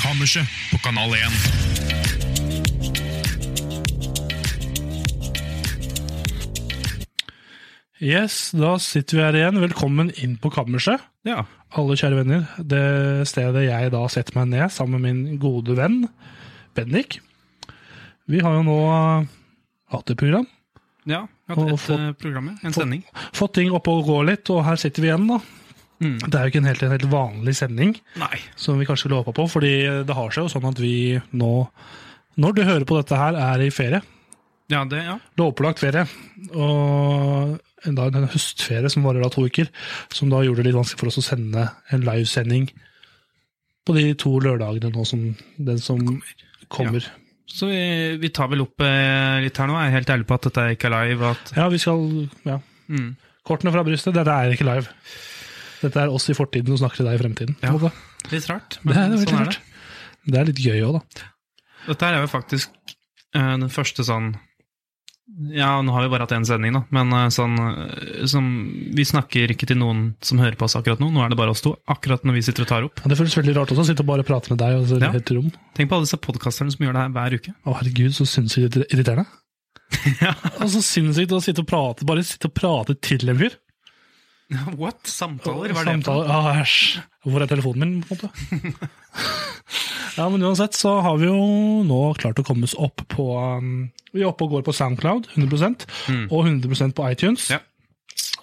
Kammerset på Kanal 1. Yes, da sitter vi her igjen. Velkommen inn på kammerset. Ja. Alle kjære venner, det stedet jeg da setter meg ned sammen med min gode venn Bendik. Vi har jo nå eh, hatt et program, ja vi Og hadde et fått- eh, program, ja. en fått- sending. fått ting opp og gå litt, og her sitter vi igjen, da. Mm. Det er jo ikke en helt, en helt vanlig sending Nei. som vi kanskje skulle håpa på, fordi det har seg jo sånn at vi nå, når du hører på dette her, er i ferie. Ja, det, ja. lovpålagt ferie. Og en dag en høstferie som varer da to uker, som da gjorde det litt vanskelig for oss å sende en livesending på de to lørdagene nå som den som kommer. Så vi, vi tar vel opp eh, litt her nå. Jeg er helt ærlig på at dette ikke er live. At, Ja, vi skal ja. mm. Kortene fra brystet, dette er ikke live. Dette er oss i fortiden som snakker til deg i fremtiden. på en Ja, måte. Litt rart, det, men er, det, er sånn sånn er det. det er litt gøy òg, da. Dette her er jo faktisk eh, den første sånn ja, nå har vi bare hatt én sending, da, men eh, sånn eh, som Vi snakker ikke til noen som hører på oss akkurat nå. Nå er det bare oss to, akkurat når vi sitter og tar opp. Ja, det føles veldig rart også, å sitte og bare prate med deg og så Ja. helt rom. Tenk på alle disse podkasterne som gjør det her hver uke. Å, herregud, så sinnssykt irriterende. Ja. Og så sinnssykt å sitte og prate, bare sitte og prate til en fyr. What? Samtaler? Hva er det? for noe? Samtaler. Ah, æsj. Hvor er telefonen min, på en måte? ja, men uansett så har vi jo nå klart å komme oss opp på um, Vi er oppe og går på Soundcloud, 100 Mm. og 100 på iTunes. Ja.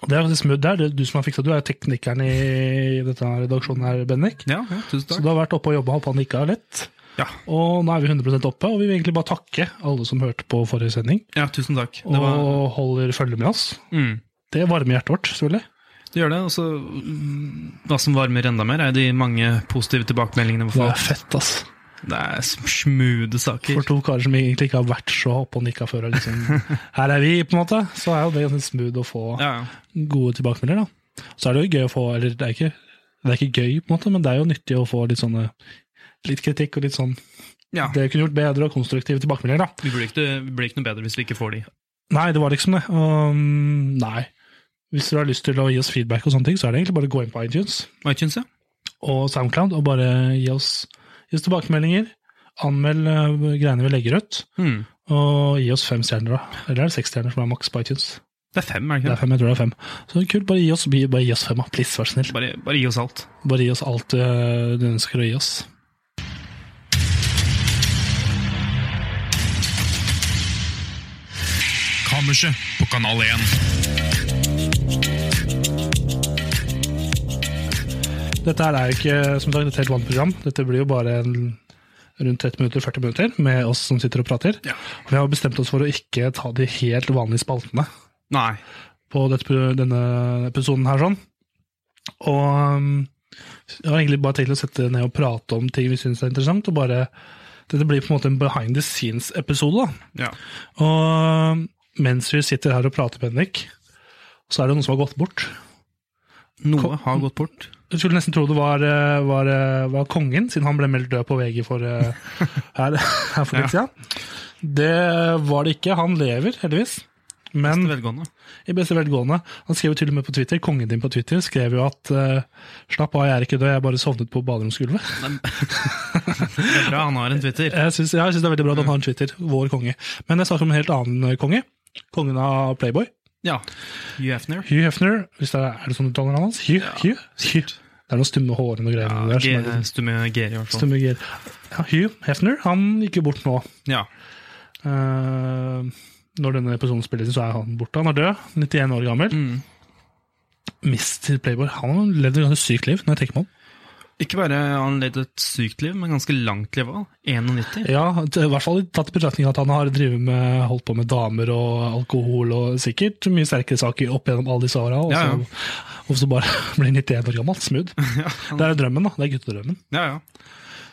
Og Det er faktisk smooth der. Det er du som har fiksa Du er teknikeren i dette her redaksjonen her, Bennik. Ja, ja, tusen Så takk. du har vært oppe og jobba, håper han ikke har lett. Ja. Og nå er vi 100 oppe, og vi vil egentlig bare takke alle som hørte på forrige sending, Ja, tusen takk. Det, og var, holder følge med oss. mm, Det varmer hjertet vårt, selvfølgelig. det gjør det. Og så mm, hva som varmer enda mer, er de mange positive tilbakemeldingene vi Det får. er fett, ass. Det er smooth For saker. to karer som egentlig ikke har vært så oppe og nikka før. og Liksom, her er vi, på en måte. Så er jo det ganske smooth å få Ja, ja. gode tilbakemeldinger. da. Så er det jo gøy å få Eller det er ikke, det er ikke gøy, på en måte, men det er jo nyttig å få litt sånne Litt kritikk og litt sånn ja. Det kunne gjort bedre og konstruktive tilbakemeldinger, da. Vi blir, ikke, vi blir ikke noe bedre hvis vi ikke får de. Nei, det var liksom det. Um, nei. Hvis dere har lyst til å gi oss feedback, og sånne ting, så er det egentlig bare å gå inn på iTunes iTunes, ja. og Soundcloud og bare gi oss, gi oss tilbakemeldinger. Anmeld eh, greiene vi legger ut. Mm. Og gi oss fem stjerner, da. Eller er det seks stjerner som er maks på iTunes? Det er fem, er Det det er ikke det? fem, jeg tror det er fem. Så kult, bare gi oss, bi- bare gi oss fem, da. Please, vær så snill. Bare, bare gi oss alt. Bare gi oss alt øh, du ønsker å gi oss. Kammerset på Kanal 1. Dette her er jo ikke som sagt, et helt vanlig program. Dette blir jo bare en, rundt 30 minutter, 40 minutter med oss som sitter og prater. Ja. Og Vi har bestemt oss for å ikke ta de helt vanlige spaltene Nei. på dette, pro- denne episoden her. sånn. Og øhm, jeg har egentlig bare tenkt å sette ned og prate om ting vi syns er interessant. og bare, Dette blir på en måte en behind the scenes-episode. da. Ja. Og mens vi sitter her og prater, Bendik, så er det noen som har gått bort. Noe har gått bort. Jeg skulle nesten tro det var, eh, var, eh, var kongen, siden han ble meldt død på VG for, eh, her, her for litt siden. Det var det ikke. Han lever, heldigvis. Men Velgående. i beste velgående. Han skrev jo til og med på Twitter, kongen din på Twitter skrev jo at eh, 'slapp av, jeg er ikke død, jeg bare sovnet på baderomsgulvet'. Det er bra, han har en Twitter. Jeg syns ja, jeg synes det er veldig bra at han har en Twitter, vår konge. Men jeg snakker om en helt annen konge. Kongen av Playboy. Ja. Hugh Hefner. Hugh Hefner, hvis det er, er det sånn du taler navnet hans? Hugh, Hugh, Hugh. Det er noen stumme hårene og greier der. G- sånn. Som er litt Stumme G, i hvert fall. stumme greier. Ja, Hugh Hefner, han gikk jo bort nå. Ja. Eh, når denne episoden spilles inn, så er han borte. Han er død, 91 år gammel. Mm. Mr. Playboy, han har levd et ganske sykt liv, når jeg tenker meg om. Ikke bare har han levd et sykt liv, men ganske langt liv òg. 91. Ja, t- i hvert fall tatt i betraktning at han har drevet med, holdt på med damer og alkohol og sikkert mye sterkere saker opp gjennom alle disse åra, og, Ja, ja. så- og så bare blir 91 år gammel. Smooth. Ja, han- Det er drømmen, da. Det er guttedrømmen. ja, ja.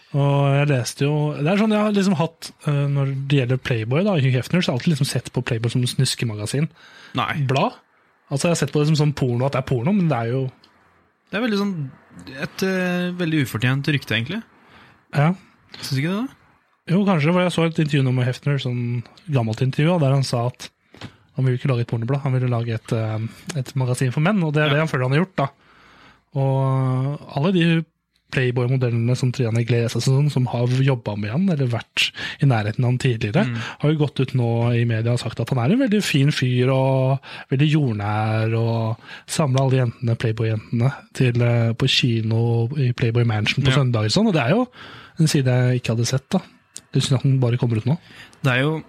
Og jeg leste jo Det er sånn jeg har liksom hatt eh, når det gjelder Playboy, da, Hugh Hefner, så har jeg alltid liksom sett på Playboy som snuskemagasin. Nei. Blad. Altså, jeg har sett på det som sånn porno, at det er porno, men det er jo Det er veldig sånn et eh, veldig ufortjent rykte, egentlig. ja. Syns du ikke det? da? Jo, kanskje, for jeg så et intervju nå med Hefner, sånn gammelt intervju, og der han sa at han ville ikke lage et pornoblad, han ville lage et, eh, et magasin for menn, og det er Ja. det han føler han har gjort, da. Og alle de Playboy-modellene som Trian Iglesias og sånn, som har jobba med han, eller vært i nærheten av han tidligere, Mm. har jo gått ut nå i media og sagt at han er en veldig fin fyr, og veldig jordnær, og samla alle jentene, Playboy-jentene, til, eh, på kino i Playboy Mansion på Ja. søndager og sånn, og det er jo en side jeg ikke hadde sett, da. Det er synd at den bare kommer ut nå. Det er jo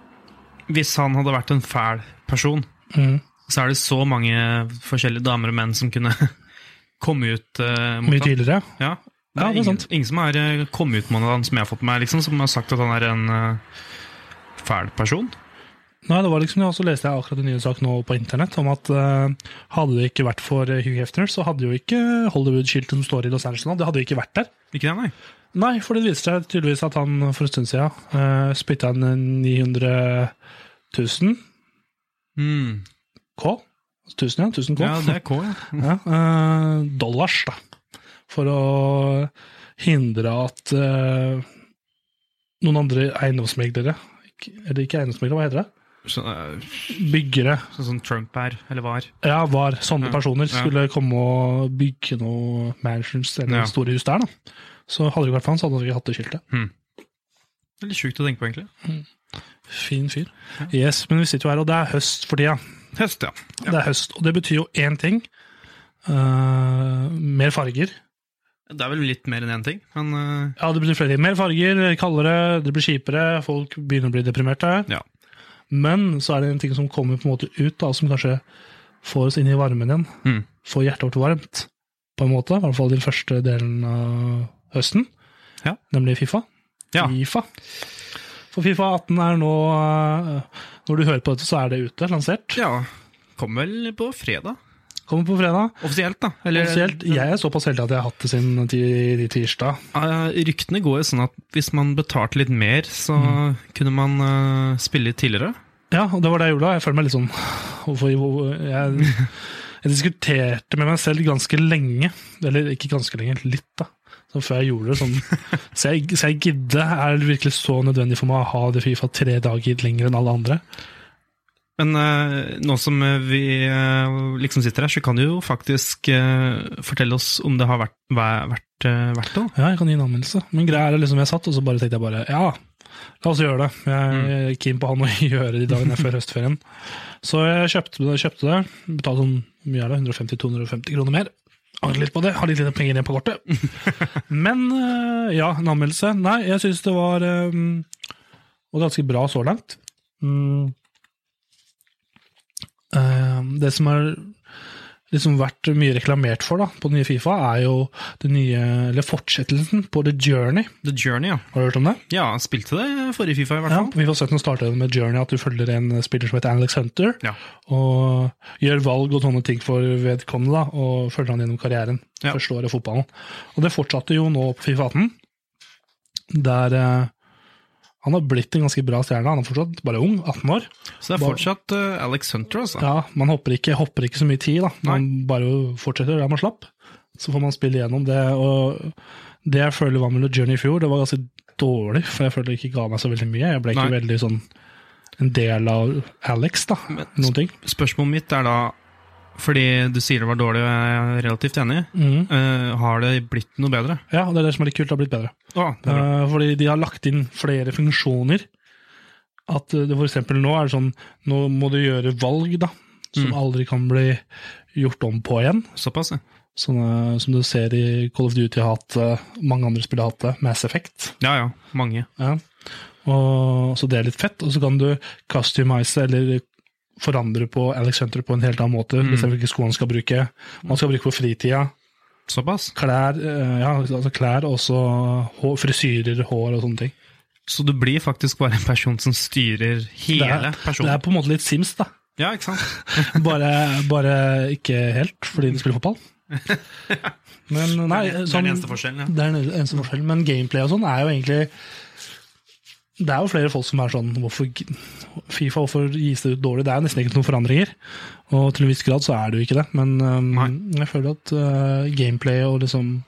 Hvis han hadde vært en fæl person, Mm. så er det så mange forskjellige damer og menn som kunne komme ut eh, mot Mye ham. tidligere. Ja. Det Ja, det er er, ingen, sant. ingen som har eh, kommet ut med han som jeg har fått med meg, liksom, som har sagt at han er en eh, fæl person. Nei, det var liksom, ja, Så leste jeg akkurat en ny sak nå på internett om at eh, hadde det ikke vært for eh, Hugh Hefner, så hadde jo ikke Hollywood-skiltet som står i Los Angeles nå, det hadde jo ikke vært der. Ikke det, nei? Nei, for det viser seg tydeligvis at han for en stund siden uh, spytta en 900 000 Mm. K. 1000, ja. 1000 K. Ja, det er K, ja. Ja, eh, dollars, da. For å hindre at eh, noen andre eiendomsmeglere ikke- Eller ikke eiendomsmeglere, hva heter det? Så, eh, Byggere. Sånn som Trump er, eller var. Ja, var sånne Ja, personer ja. skulle komme og bygge noe mansions eller Ja. store hus der, da. Så hadde det ikke vært for han, så hadde han ikke hatt det skiltet. Det er litt sjukt å tenke på, egentlig. Fin fyr. Yes, men vi sitter jo her, og det er høst for tida. Høst, ja. Det er høst, og det betyr jo én ting. eh, mer farger. Det er vel litt mer enn én ting, men eh, Ja, det blir flere. Mer farger, kaldere, det blir kjipere, folk begynner å bli deprimerte. Ja. Men så er det en ting som kommer på en måte ut, da, som kanskje får oss inn i varmen igjen. Mm. Får hjertet vårt varmt, på en måte. I hvert fall den første delen av høsten, Ja. nemlig Fifa. Ja. FIFA. For Fifa 18 er nå eh, Når du hører på dette, så er det ute, lansert. ja. Kom vel på fredag? Kommer på fredag. Offisielt, da. Eller, Offisielt, jeg er såpass heldig at jeg har hatt det siden ti- tirsdag. Eh, ryktene går jo sånn at hvis man betalte litt mer, så kunne man eh, spille litt tidligere. Ja, og det var det jeg gjorde da. Jeg føler meg litt sånn Hvorfor hvor- jeg, jeg diskuterte med meg selv ganske lenge. Eller ikke ganske lenge, litt, da. Så før jeg gjorde det sånn. Så jeg, så jeg gidde. Er det virkelig så nødvendig for meg å ha det Fifa tre dager lenger enn alle andre? Men eh, nå som eh, vi eh, liksom sitter her, så kan du jo faktisk eh, fortelle oss om det har vært, væ- vært eh, verdt det. da. Ja, jeg kan gi en anmeldelse. Men greia er liksom jeg satt, og så bare tenkte jeg bare ja, la oss gjøre det. Jeg er keen på å ha noe å gjøre de dagene før høstferien. Så jeg kjøpte, det- kjøpte det. Betalte sånn hvor mye er det, 150-250 kroner mer. Angrer litt på det. Har litt lite penger igjen på kortet. Men eh, ja, en anmeldelse. Nei, jeg syns det var eh, Og ganske bra så langt. Mm. Eh, Det som har liksom vært mye reklamert for da, på den nye Fifa, er jo den nye, eller fortsettelsen på The Journey. The Journey, ja. Har du hørt om det? Ja, han spilte det forrige Fifa, i hvert Ja, fall. vi får sett noe startet med Journey, at du følger en spiller som heter Alex Hunter, Ja. og gjør valg og sånne ting for vedkommende, da, og følger han gjennom karrieren. Ja. Første året i fotballen. Og det fortsatte jo nå på Fifa 18, der eh, han har blitt en ganske bra stjerne. Han er fortsatt bare ung, 18 år. Så det er fortsatt eh, Alex Hunter, altså. Ja, man hopper ikke, hopper ikke så mye tid, da. Man bare fortsetter der man slapp. Så får man spille gjennom det. Og det jeg føler var med The Journey i fjor, det var ganske dårlig, for jeg føler det ikke ga meg så veldig mye. Jeg ble ikke Nei. veldig sånn en del av Alex, da. Men- Noen ting. Spørsmålet mitt er da, fordi du sier det var dårlig, og jeg er relativt enig, Mhm. eh, har det blitt noe bedre? Ja, og det er det som er litt kult, det har blitt bedre. Å, det er bra. Eh, fordi de har lagt inn flere funksjoner. At eh, det for eksempel nå er det sånn, nå må du gjøre valg, da. Som Mm. aldri kan bli gjort om på igjen. Såpass, ja. Sånne, som du ser i Call of Duty har hatt det, mange andre spill har hatt det, Mass Effect. Ja ja, mange. Ja. Og, så det er litt fett, og så kan du customize eller forandre på Alex Hunter på en helt annen måte, Mm. bestemme hvilke sko han skal bruke, hva han skal bruke på fritida, Såpass? Klær, eh, ja, altså klær og også hår, frisyrer, hår og sånne ting. Så du blir faktisk bare en person som styrer det, hele er, det personen? er på en måte litt Sims, da. Ja, ikke sant? Bare, bare ikke helt, fordi de spiller fotball. Men nei, det er sånn- den eneste forskjellen, ja. Det er den eneste forskjellen, men gameplay og sånn er jo egentlig Det er jo flere folk som er sånn hvorfor, g- Fifa, hvorfor gis det ut dårlig? Det er jo nesten ikke noen forandringer. Og til en viss grad så er det jo ikke det, men øhm, jeg føler at øh, gameplay og liksom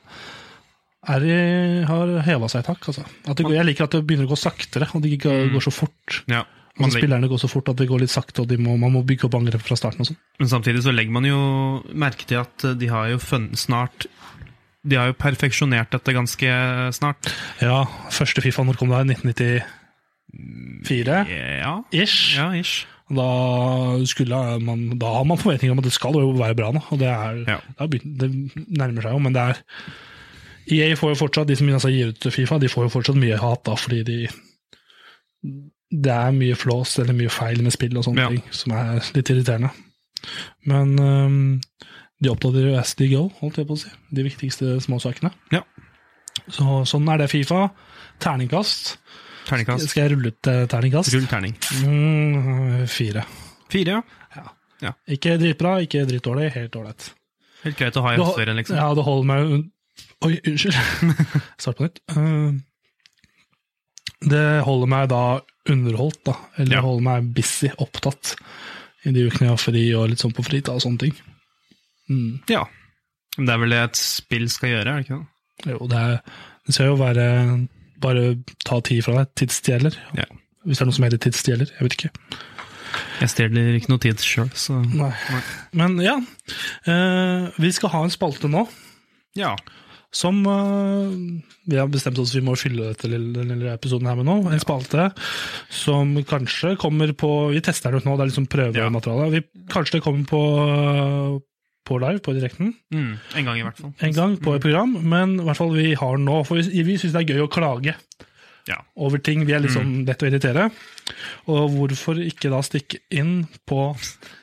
er i, har heva seg et hakk. Altså. At det går, jeg liker at det begynner å gå saktere, og det ikke går- går så fort. Ja. Mm. Man Altså, legger- spillerne går så fort at det går litt sakte, og de må, man må bygge opp angrep fra starten. og sånn. Men samtidig så legger man jo merke til at eh, de har jo funnet snart De har jo perfeksjonert dette ganske snart. Ja, første Fifa når kom da? 1994? Ja, Ish. ja ish. Da, skulle man, da har man forventninger om at det skal jo være bra nå. Og det, er, Ja. det, har begynt, det nærmer seg jo, men det er EA får jo fortsatt, De som altså gir ut Fifa, de får jo fortsatt mye hat da, fordi de det er mye flås eller mye feil med spill og sånne Ja. ting, som er litt irriterende. Men øhm, de oppdaterer jo as they go, holdt jeg på å si. De viktigste småsakene. Ja. Så, sånn er det Fifa. Terningkast. Terningkast. Skal jeg rulle ut eh, terningkast? Rull terning. Mm, fire. Fire, ja. Ikke dritbra, ikke dritdårlig, helt ålreit. Helt greit å ha i Det hol- høstferien, liksom. Ja, det holder meg un- Oi, unnskyld. Start på nytt. Eh, Det holder meg da underholdt, da. Eller Ja. holder meg busy, opptatt. I de ukene jeg har fri og litt sånn på fritid og sånne ting. Mm. Ja. Men det er vel det et spill skal gjøre, er det ikke det? Jo, det, er, det skal jo være Bare ta tid fra deg. Tidsstjeler. Ja. Hvis det er noe som heter tidsstjeler. Jeg vet ikke. Jeg stjeler ikke noe tid sjøl, så Nei. Men ja. Eh, vi skal ha en spalte nå. Ja. Som øh, vi har bestemt oss vi må fylle dette lille, denne lille episoden her med nå. En spalte som kanskje kommer på Vi tester det ut nå, det er liksom prøvemateriale. Vi, kanskje det kommer på, øh, på live, på direkten, Mm. En gang, i hvert fall. en gang på et program. Men i hvert fall vi har den nå. For vi, vi syns det er gøy å klage Ja. over ting. Vi er litt sånn lett å irritere. Og hvorfor ikke da stikke inn på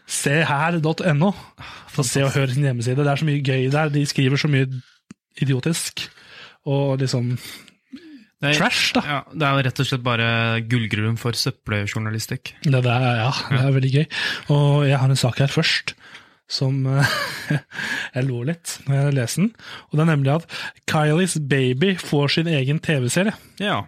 seher.no? For Se og Hør sin hjemmeside. Det er så mye gøy der. De skriver så mye idiotisk. Og liksom Det er, trash, da. ja, det er jo rett og slett bare gullgruven for søppeljournalistikk. Det, der, ja, det er veldig gøy. Og jeg har en sak her først. Som eh, Jeg lo litt når jeg leste den. Og det er nemlig at Kylies baby får sin egen TV-serie. Ja.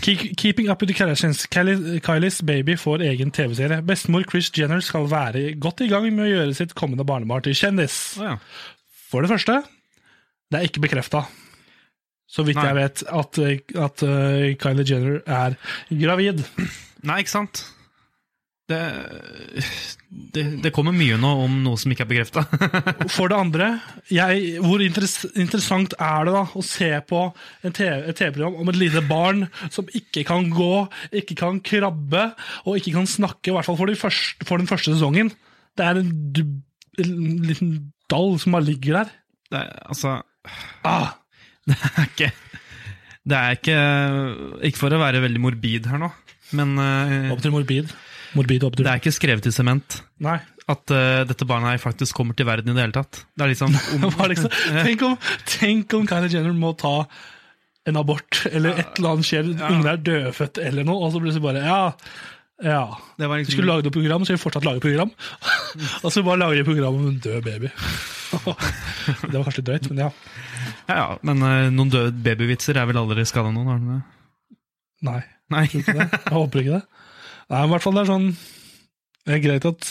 Keep, keeping up with the Kardashians. Kylie- Kylies baby får egen TV-serie. Bestemor Chris Jenner skal være godt i gang med å gjøre sitt kommende barnebarn til kjendis. Å ja. For det første, det er ikke bekrefta, så vidt Nei. jeg vet, at, at eh, Kylie Jenner er gravid. Nei, ikke sant? Det, det, det kommer mye nå om noe som ikke er bekrefta. For det andre, jeg, hvor interess interessant er det da å se på en TV et TV-program om et lite barn som ikke kan gå, ikke kan krabbe og ikke kan snakke, i hvert fall for, de første, for den første sesongen. Det er en, dub- en liten dall som bare ligger der. Det, er- altså, Ah, det er ikke Det er ikke Ikke for å være veldig morbid her nå, men eh, opp til morbid. Morbid opp det til er ikke skrevet i sement Nei. at eh, dette barnet her faktisk kommer til verden i det hele tatt. Det er liksom om, Det var liksom, tenk, om, tenk om Kylie Jenner må ta en abort, eller et eller annet skjer, ungene er dødfødt eller noe, og så blir det så bare Ja. ja. det var Vi skulle liksom lage noe program, så vi fortsatt lager program. og så bare lager de program om en død baby. det var kanskje litt drøyt, men ja. ja, ja, Men eh, noen døde babyvitser er vel aldri skada noen? Har de det? Nei, Nei. jeg tror ikke det. Jeg håper ikke det. Nei, men i hvert fall det er sånn Det er greit at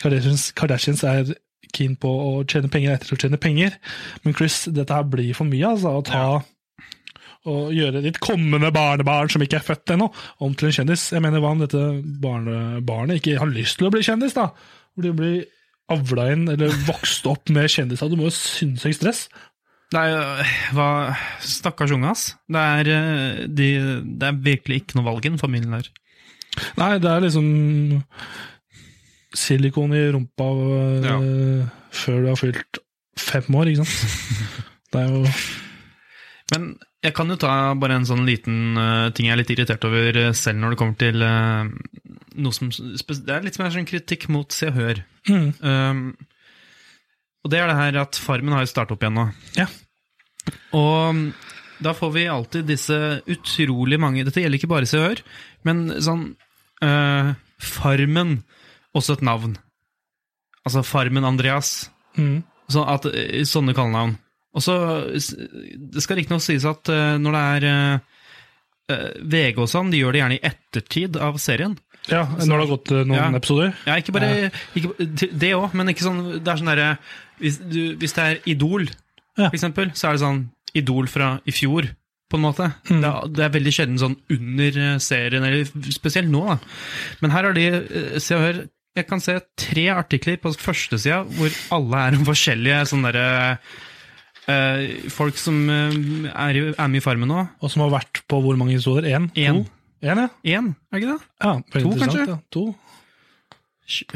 Kardashians, Kardashians er keen på å tjene penger etter å tjene penger, men Chris, dette her blir for mye, altså. Å ta og gjøre ditt kommende barnebarn, som ikke er født ennå, om til en kjendis. Jeg mener, hva om dette barnebarnet ikke har lyst til å bli kjendis, da? Hvor de blir avla inn, eller vokst opp med kjendiser. Du må jo ha sinnssykt stress. Det er, eh, hva, stakkars unge, ass. Det er, eh, de, det er virkelig ikke noe valg i den familien der. Nei, det er liksom silikon i rumpa øh, Ja. før du har fylt fem år, ikke sant? Det er jo Men jeg kan jo ta bare en sånn liten eh, ting jeg er litt irritert over eh, selv når det kommer til eh, noe som spe- Det er litt mer sånn kritikk mot Se og Hør. mm, Um, Og det er det her at Farmen har jo starta opp igjen nå. Ja. Og da får vi alltid disse utrolig mange Dette gjelder ikke bare Se og Hør, men sånn eh, Farmen Også et navn. Altså Farmen Andreas. Mm. Sånn at, eh, sånne kallenavn. Og så s- Det skal riktignok sies at eh, når det er eh, eh, VG og sånn, de gjør det gjerne i ettertid av serien. Ja, Når det har gått eh, noen Ja. episoder? Ja, ikke bare ikke, Det òg, men ikke sånn Det er sånn derre hvis, du- hvis det er Idol, Ja. for eksempel, så er det sånn Idol fra i fjor, på en måte. Det, er, det er veldig sjelden sånn under eh, serien, eller spesielt nå, da. Men her har de eh, Se og Hør Jeg kan se tre artikler på førstesida hvor alle er om forskjellige sånne derre eh, folk som eh, er, i- er med i Farmen nå. Og som har vært på hvor mange episoder? Én? Én. To? Én, ja. Én, er det ikke det? ja veldig To, interessant, kanskje? Ja. To.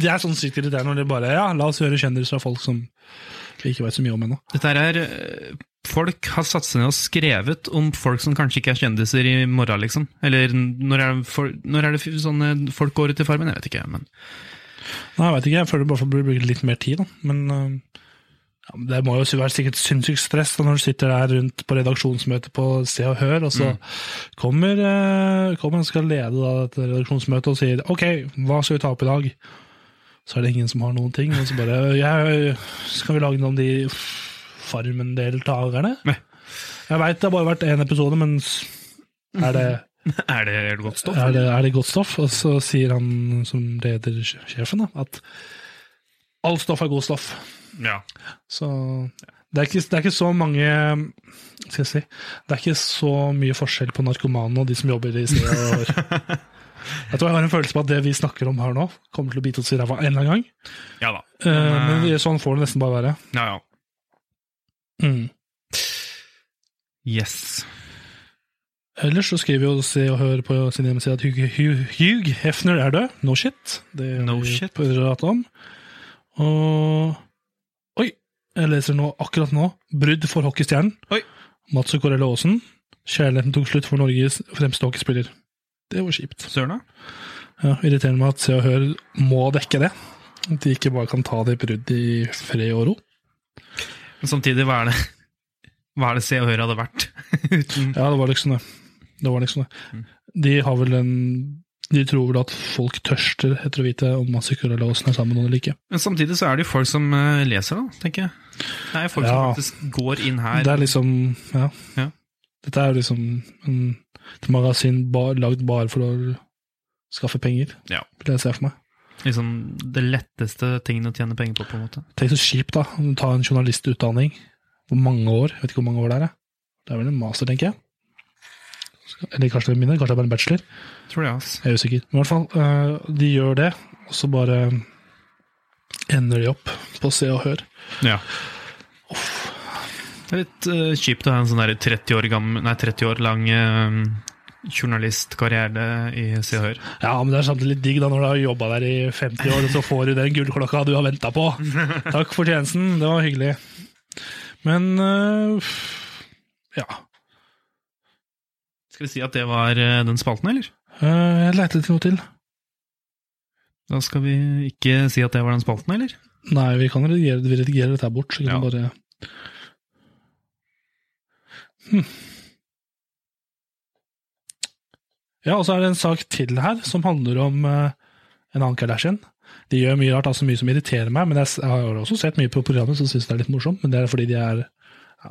Det er sånn sykt irriterende når det bare Ja, la oss høre kjendiser av folk som vi ikke veit så mye om ennå. Dette her er eh, Folk har satt seg ned og skrevet om folk som kanskje ikke er kjendiser i morgen, liksom. Eller når er, for, når er det f- sånn eh, folk går ut i Farmen? Jeg vet ikke. men... Nei, Jeg vet ikke, jeg føler det bare burde bruke litt mer tid, da. Men øh, ja, men det må jo være sikkert sinnssykt stress da, når du sitter der rundt på redaksjonsmøtet på Se og Hør, og så kommer, øh, kommer en som skal lede da, dette redaksjonsmøtet og sier ok, hva skal vi ta opp i dag? Så er det ingen som har noen ting, og så bare ja, skal vi lage noe om de farmendeltakerne? Nei. Jeg veit det har bare vært én episode, men s- er det Er det, er det godt stoff? er det, er det godt stoff? Og så sier han som leder sjefen da, at all stoff er god stoff. Ja. Så det er ikke, det er ikke så mange hva skal jeg si, Det er ikke så mye forskjell på narkomane og de som jobber i sted. Og jeg tror jeg har en følelse på at det vi snakker om her nå, kommer til å bite oss i ræva en eller annen gang. Ja da. Eh, Men, Men, eh, sånn får det nesten bare være. Ja, ja. Mm. Yes. Ellers så skriver jo Se og Hør på sin hjemmeside at Hugh, Hugh, Hugh Hefner er død. No shit. Det No har vi shit. pratet om. Og Oi! Jeg leser nå, akkurat nå, brudd for hockeystjernen. Oi. Matsu Corello Aasen. Kjærligheten tok slutt for Norges fremste hockeyspiller. Det var kjipt. Søren, da. Ja, irriterende med at Se og Hør må dekke det. At de ikke bare kan ta det brudd i fred og ro. Men samtidig, hva er det Hva er det Se og Hør hadde vært uten Ja, det var liksom det. Det var liksom det. Mm. De har vel en De tror vel at folk tørster etter å vite om Masikur eller Åsen er sammen med noen eller ikke. Men samtidig så er det jo folk som eh, leser, da, tenker jeg. Det er jo folk som Ja. faktisk går inn her. Det er liksom Ja. Ja. Dette er jo liksom en, et magasin bar, lagd bare for å skaffe penger, Ja. vil jeg se for meg. Liksom det letteste tingen å tjene penger på, på en måte. Tenk så kjipt, da. om du tar en journalistutdanning på mange år. Jeg vet ikke hvor mange år det er. jeg. Det er vel en master, tenker jeg. Skal- Eller kanskje det er mindre, kanskje det er bare en bachelor. Tror det, altså. Jeg er usikker. Men i hvert fall, eh, de gjør det, og så bare ender de opp på Se og Hør. Ja. Det er litt eh, kjipt å ha en sånn der 30 år, gammel, nei, 30 år lang eh, journalistkarriere i Se og Hør. Ja, men det er samtidig litt digg da når du har jobba der i 50 år, og så får du den gullklokka du har venta på. Takk for tjenesten, det var hyggelig. Men eh, ja. Skal vi si at det var eh, den spalten, eller? Eh, jeg leter etter noe til. Da skal vi ikke si at det var den spalten, eller? Nei, vi kan redigere, vi redigerer dette her bort. Så kan Ja. vi bare hm. Ja, og så er det en sak til her som handler om eh, en annen Kardashian. De gjør mye rart, altså mye som irriterer meg, men jeg, s- jeg har også sett mye på programmet som syns det er litt morsomt, men det er fordi de er ja,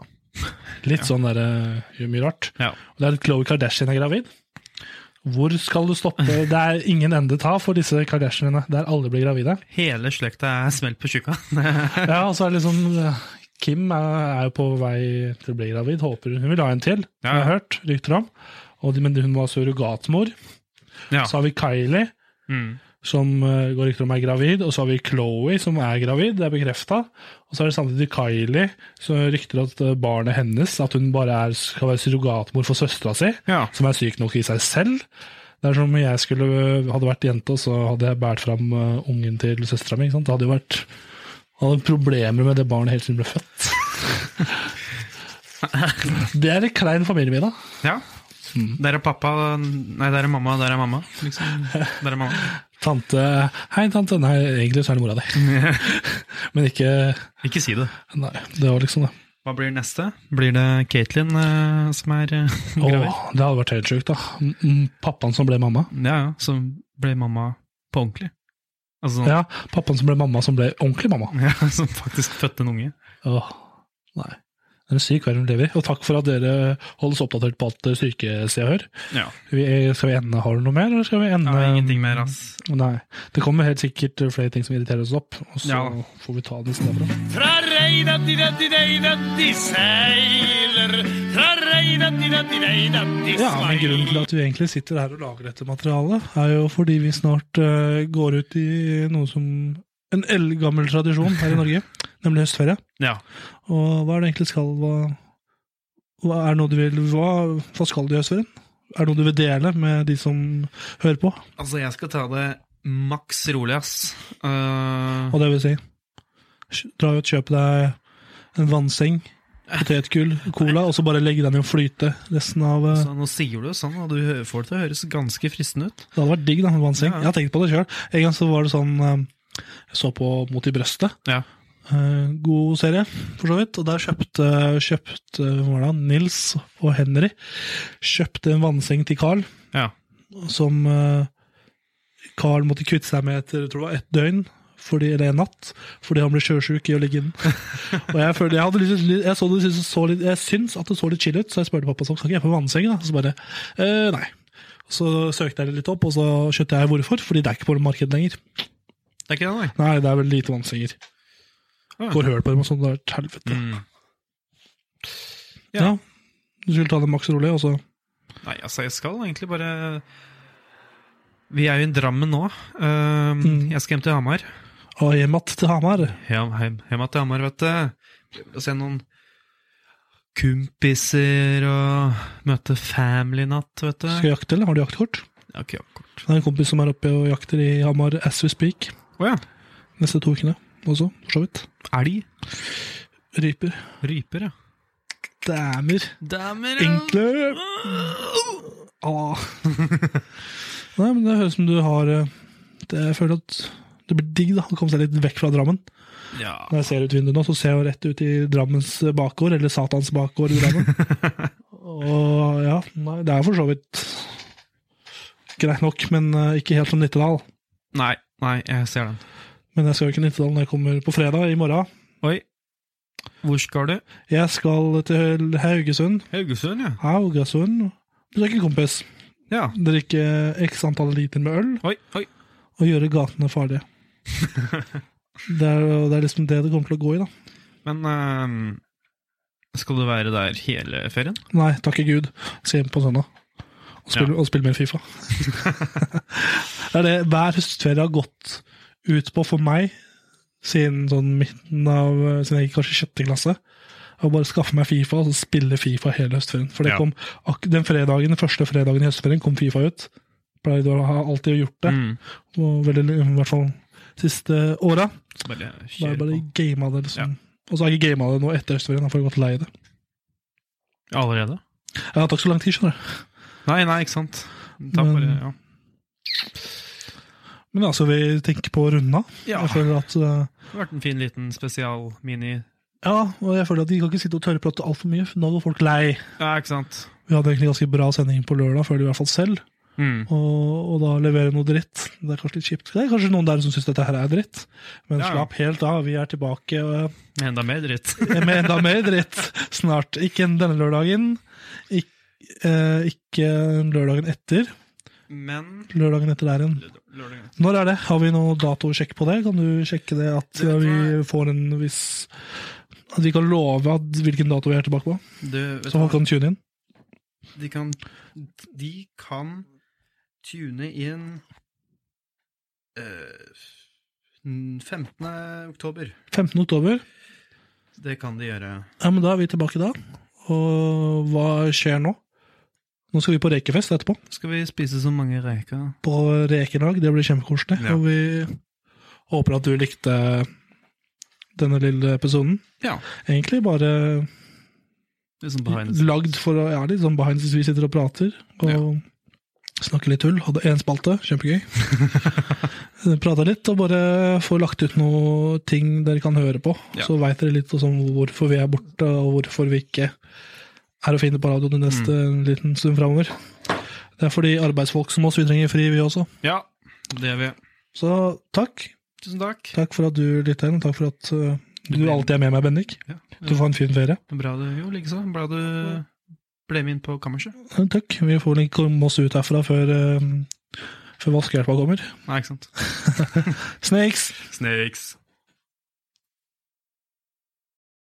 litt sånn der eh, gjør mye rart. Ja. Og det er at Khloe Kardashian er gravid. Hvor skal du stoppe? Det er ingen ende ta for disse Kardashianene, der alle blir gravide. Hele slekta er smelt på tjukka. Ja, og så er det liksom eh, Kim er, er jo på vei til å bli gravid. Håper hun, hun vil ha en til, Ja. har jeg hørt rykter om. Og, de- men hun var surrogatmor. ja. Så har vi Kylie, Mm. som eh, går rykter om er gravid. Og så har vi Chloé, som er gravid. Det er bekrefta. Og så er det samtidig Kylie, som rykter at eh, barnet hennes At hun bare er, skal være surrogatmor for søstera si, ja. som er syk nok i seg selv. Det er som om jeg skulle, hadde vært jente, og så hadde jeg båret fram eh, ungen til søstera mi. Det hadde jo vært hadde problemer med det barnet helt siden det ble født. det er en klein familie, da. ja. Der er pappa Nei, der er mamma, der er mamma. Liksom. Der er mamma. Tante Hei, tante. Nei, egentlig så er det mora di. Men ikke Ikke si det. Nei, det var liksom det. Hva blir neste? Blir det Katelyn eh, som er eh, Åh, gravid? det hadde vært helt sjukt, da. Mm, mm, Pappaen som ble mamma. Ja, ja. Som ble mamma på ordentlig. Altså sånn Ja, pappaen som ble mamma som ble ordentlig mamma. ja. Som faktisk fødte en unge. Åh, nei. Det er en syk verden vi lever i. Og takk for at dere holdes oppdatert på alt sykested og hør. Ja. Vi- Skal vi ende, har du noe mer, eller skal vi ende ja ingenting mer, ass. Nei. Det kommer helt sikkert flere ting som irriterer oss opp, og så Ja. får vi ta det isteden. Fra reidadidadidadidadi seiler Fra reidadidadidadidadi Ja, men grunnen til at vi egentlig sitter her og lager dette materialet, er jo fordi vi snart eh, går ut i noe som en eldgammel tradisjon her i Norge, nemlig høstferie. Ja. Og hva er det egentlig skal Hva, hva er noe du vil hva, hva skal du i høstferien? Er det noe du vil dele med de som hører på? Altså, jeg skal ta det maks rolig, ass. Eh, Og det vil si kj- Dra ut, kjøpe deg en vannseng, potetgull, cola, og så bare legge den i å flyte resten av eh, så nå sier du det sånn, og du hø- får det til å høres ganske fristende ut. Det hadde vært digg, da. med Vannseng. Ja. Jeg har tenkt på det sjøl. En gang så var det sånn eh, Jeg så på Mot i brøstet. Ja. Eh, God serie, for så vidt. Og der kjøpte, kjøpte hva var det, han? Nils og Henry Kjøpte en vannseng til Carl, Ja. som eh, Carl måtte kvitte seg med etter jeg tror det var ett døgn. Fordi, eller en natt, fordi han ble sjøsjuk i å ligge inne. og jeg følte, jeg hadde lyst til- jeg så det synes, det så litt, jeg syns at det så litt chill ut, så jeg spurte pappa sånn, kan ikke jeg få vannseng. da? Så bare eh, nei. Så søkte jeg det litt opp, og så skjønte jeg hvorfor. Fordi det er ikke på markedet lenger. Det er ikke det, nei. Nei, det er vel lite vannsenger. Ja. Går høl på dem og sånn. Det er et helvete. Mm. Ja. Du skulle ta det maks rolig, og så Nei, altså, jeg skal egentlig bare Vi er jo i Drammen nå. Eh, Mm. Jeg skal hjem til Hamar. og hjem igjen til Hamar. Hjem, hjem, hjem til Hamar, vet du. Og se noen kompiser og møte family natt, vet du. Skal jakte, eller? Har du jaktkort? Ja, ok, ja, kort. Det er en kompis som er oppe og jakter i Hamar as we speak Å ja. neste to ukene også, for så vidt. Elg. Ryper. Ryper, ja. Dæmer. Dæmer, Enkle Ah. Nei, men det høres ut som du har eh, det, Jeg føler at det blir digg da, å komme seg litt vekk fra Drammen. Ja. Når jeg ser ut vinduet nå, så ser jeg jo rett ut i Drammens bakgård, eller Satans bakgård i Drammen. Og ja, nei, det er for så vidt greit nok, men eh, ikke helt som Nittedal. Nei, nei, jeg ser den. Men jeg skal jo ikke Nittedal når jeg kommer på fredag i morgen. Oi. Hvor skal du? Jeg skal til Haugesund, Haugesund, ja. Haugesund, besøke en kompis, Ja. drikke x antall liter med øl, Oi, oi. og gjøre gatene farlige. Det er, jo- det er liksom det det kommer til å gå i, da. Men ehm, skal du være der hele ferien? Nei, takke Gud. Skal hjem på søndag og spille, og spille mer Fifa. det er det hver høstferie har gått ut på for meg siden sånn midten av eh, siden jeg gikk kanskje i sjette klasse. Å bare skaffe meg Fifa og så spille Fifa hele høstferien. For det Ja. kom ak den fredagen, den første fredagen i høstferien kom Fifa ut. Pleide å ha alltid gjort det. Mm. Og veldig, I hvert fall siste åra. Bare Bare, kjør bare på. gama det, liksom. Og så har jeg ikke gama det nå etter høstferien, da får jeg gått lei i det. Allerede? Jeg har tatt så lang tid, skjønner du. Nei, nei, ikke sant. Ta Men- bare, ja. Men altså, vi tenker på å runde av. Ja. Jeg føler at eh, Det har vært en fin liten spesial mini Ja, og jeg føler at vi kan ikke sitte og tørreprate altfor mye, for da går folk lei. Ja, ikke sant? Vi hadde egentlig ganske bra sending på lørdag, føler vi i hvert fall selv. Mm. Og, og da levere noe dritt. Det er kanskje litt kjipt. Det er kanskje noen der som syns dette her er dritt, men Ja, ja. slapp helt av. Vi er tilbake eh, Enda mer dritt. med enda mer dritt snart. Ikke denne lørdagen. Ikke, eh, ikke lørdagen etter. Men Lørdagen etter der igjen. lørdagen Når er det? Har vi noe datosjekk på det? Kan du sjekke det at Det vet vi jeg. får en viss At vi kan love at hvilken dato vi er tilbake på? Du, vet Så du folk hva? kan tune inn? De kan De kan tune inn eh, 15. oktober. 15. oktober. Det kan de gjøre. Ja, men da er vi tilbake da. Og hva skjer nå? Nå skal vi på rekefest etterpå. Skal vi spise så mange reker? På rekelag. Det blir kjempekoselig. Ja. Og vi håper at du likte denne lille episoden. Ja. Egentlig bare Liksom behind the scenes. Lagd for å ja, litt sånn behind the scenes, vi sitter og prater og snakker litt tull. Hadde én spalte, kjempegøy. Prata litt og bare får lagt ut noen ting dere kan høre på. Ja. Så veit dere litt sånn hvorfor vi er borte, og hvorfor vi ikke er å finne på radioen den neste Mm. liten stund framover. Det er fordi arbeidsfolk som oss, vi trenger fri, vi også. Ja, det gjør vi. Så takk. Tusen takk. Takk for at du lytta inn, og takk for at uh, du alltid er med meg, Bendik. Ja. Du får ha en fin ferie. Bra du Jo, likeså. Bra du ble med inn på kammerset. Ja, Takk. Vi får vel ikke komme oss ut herfra før, uh, før vaskehjelpa kommer. Nei, ikke sant. Snakes! Snakes.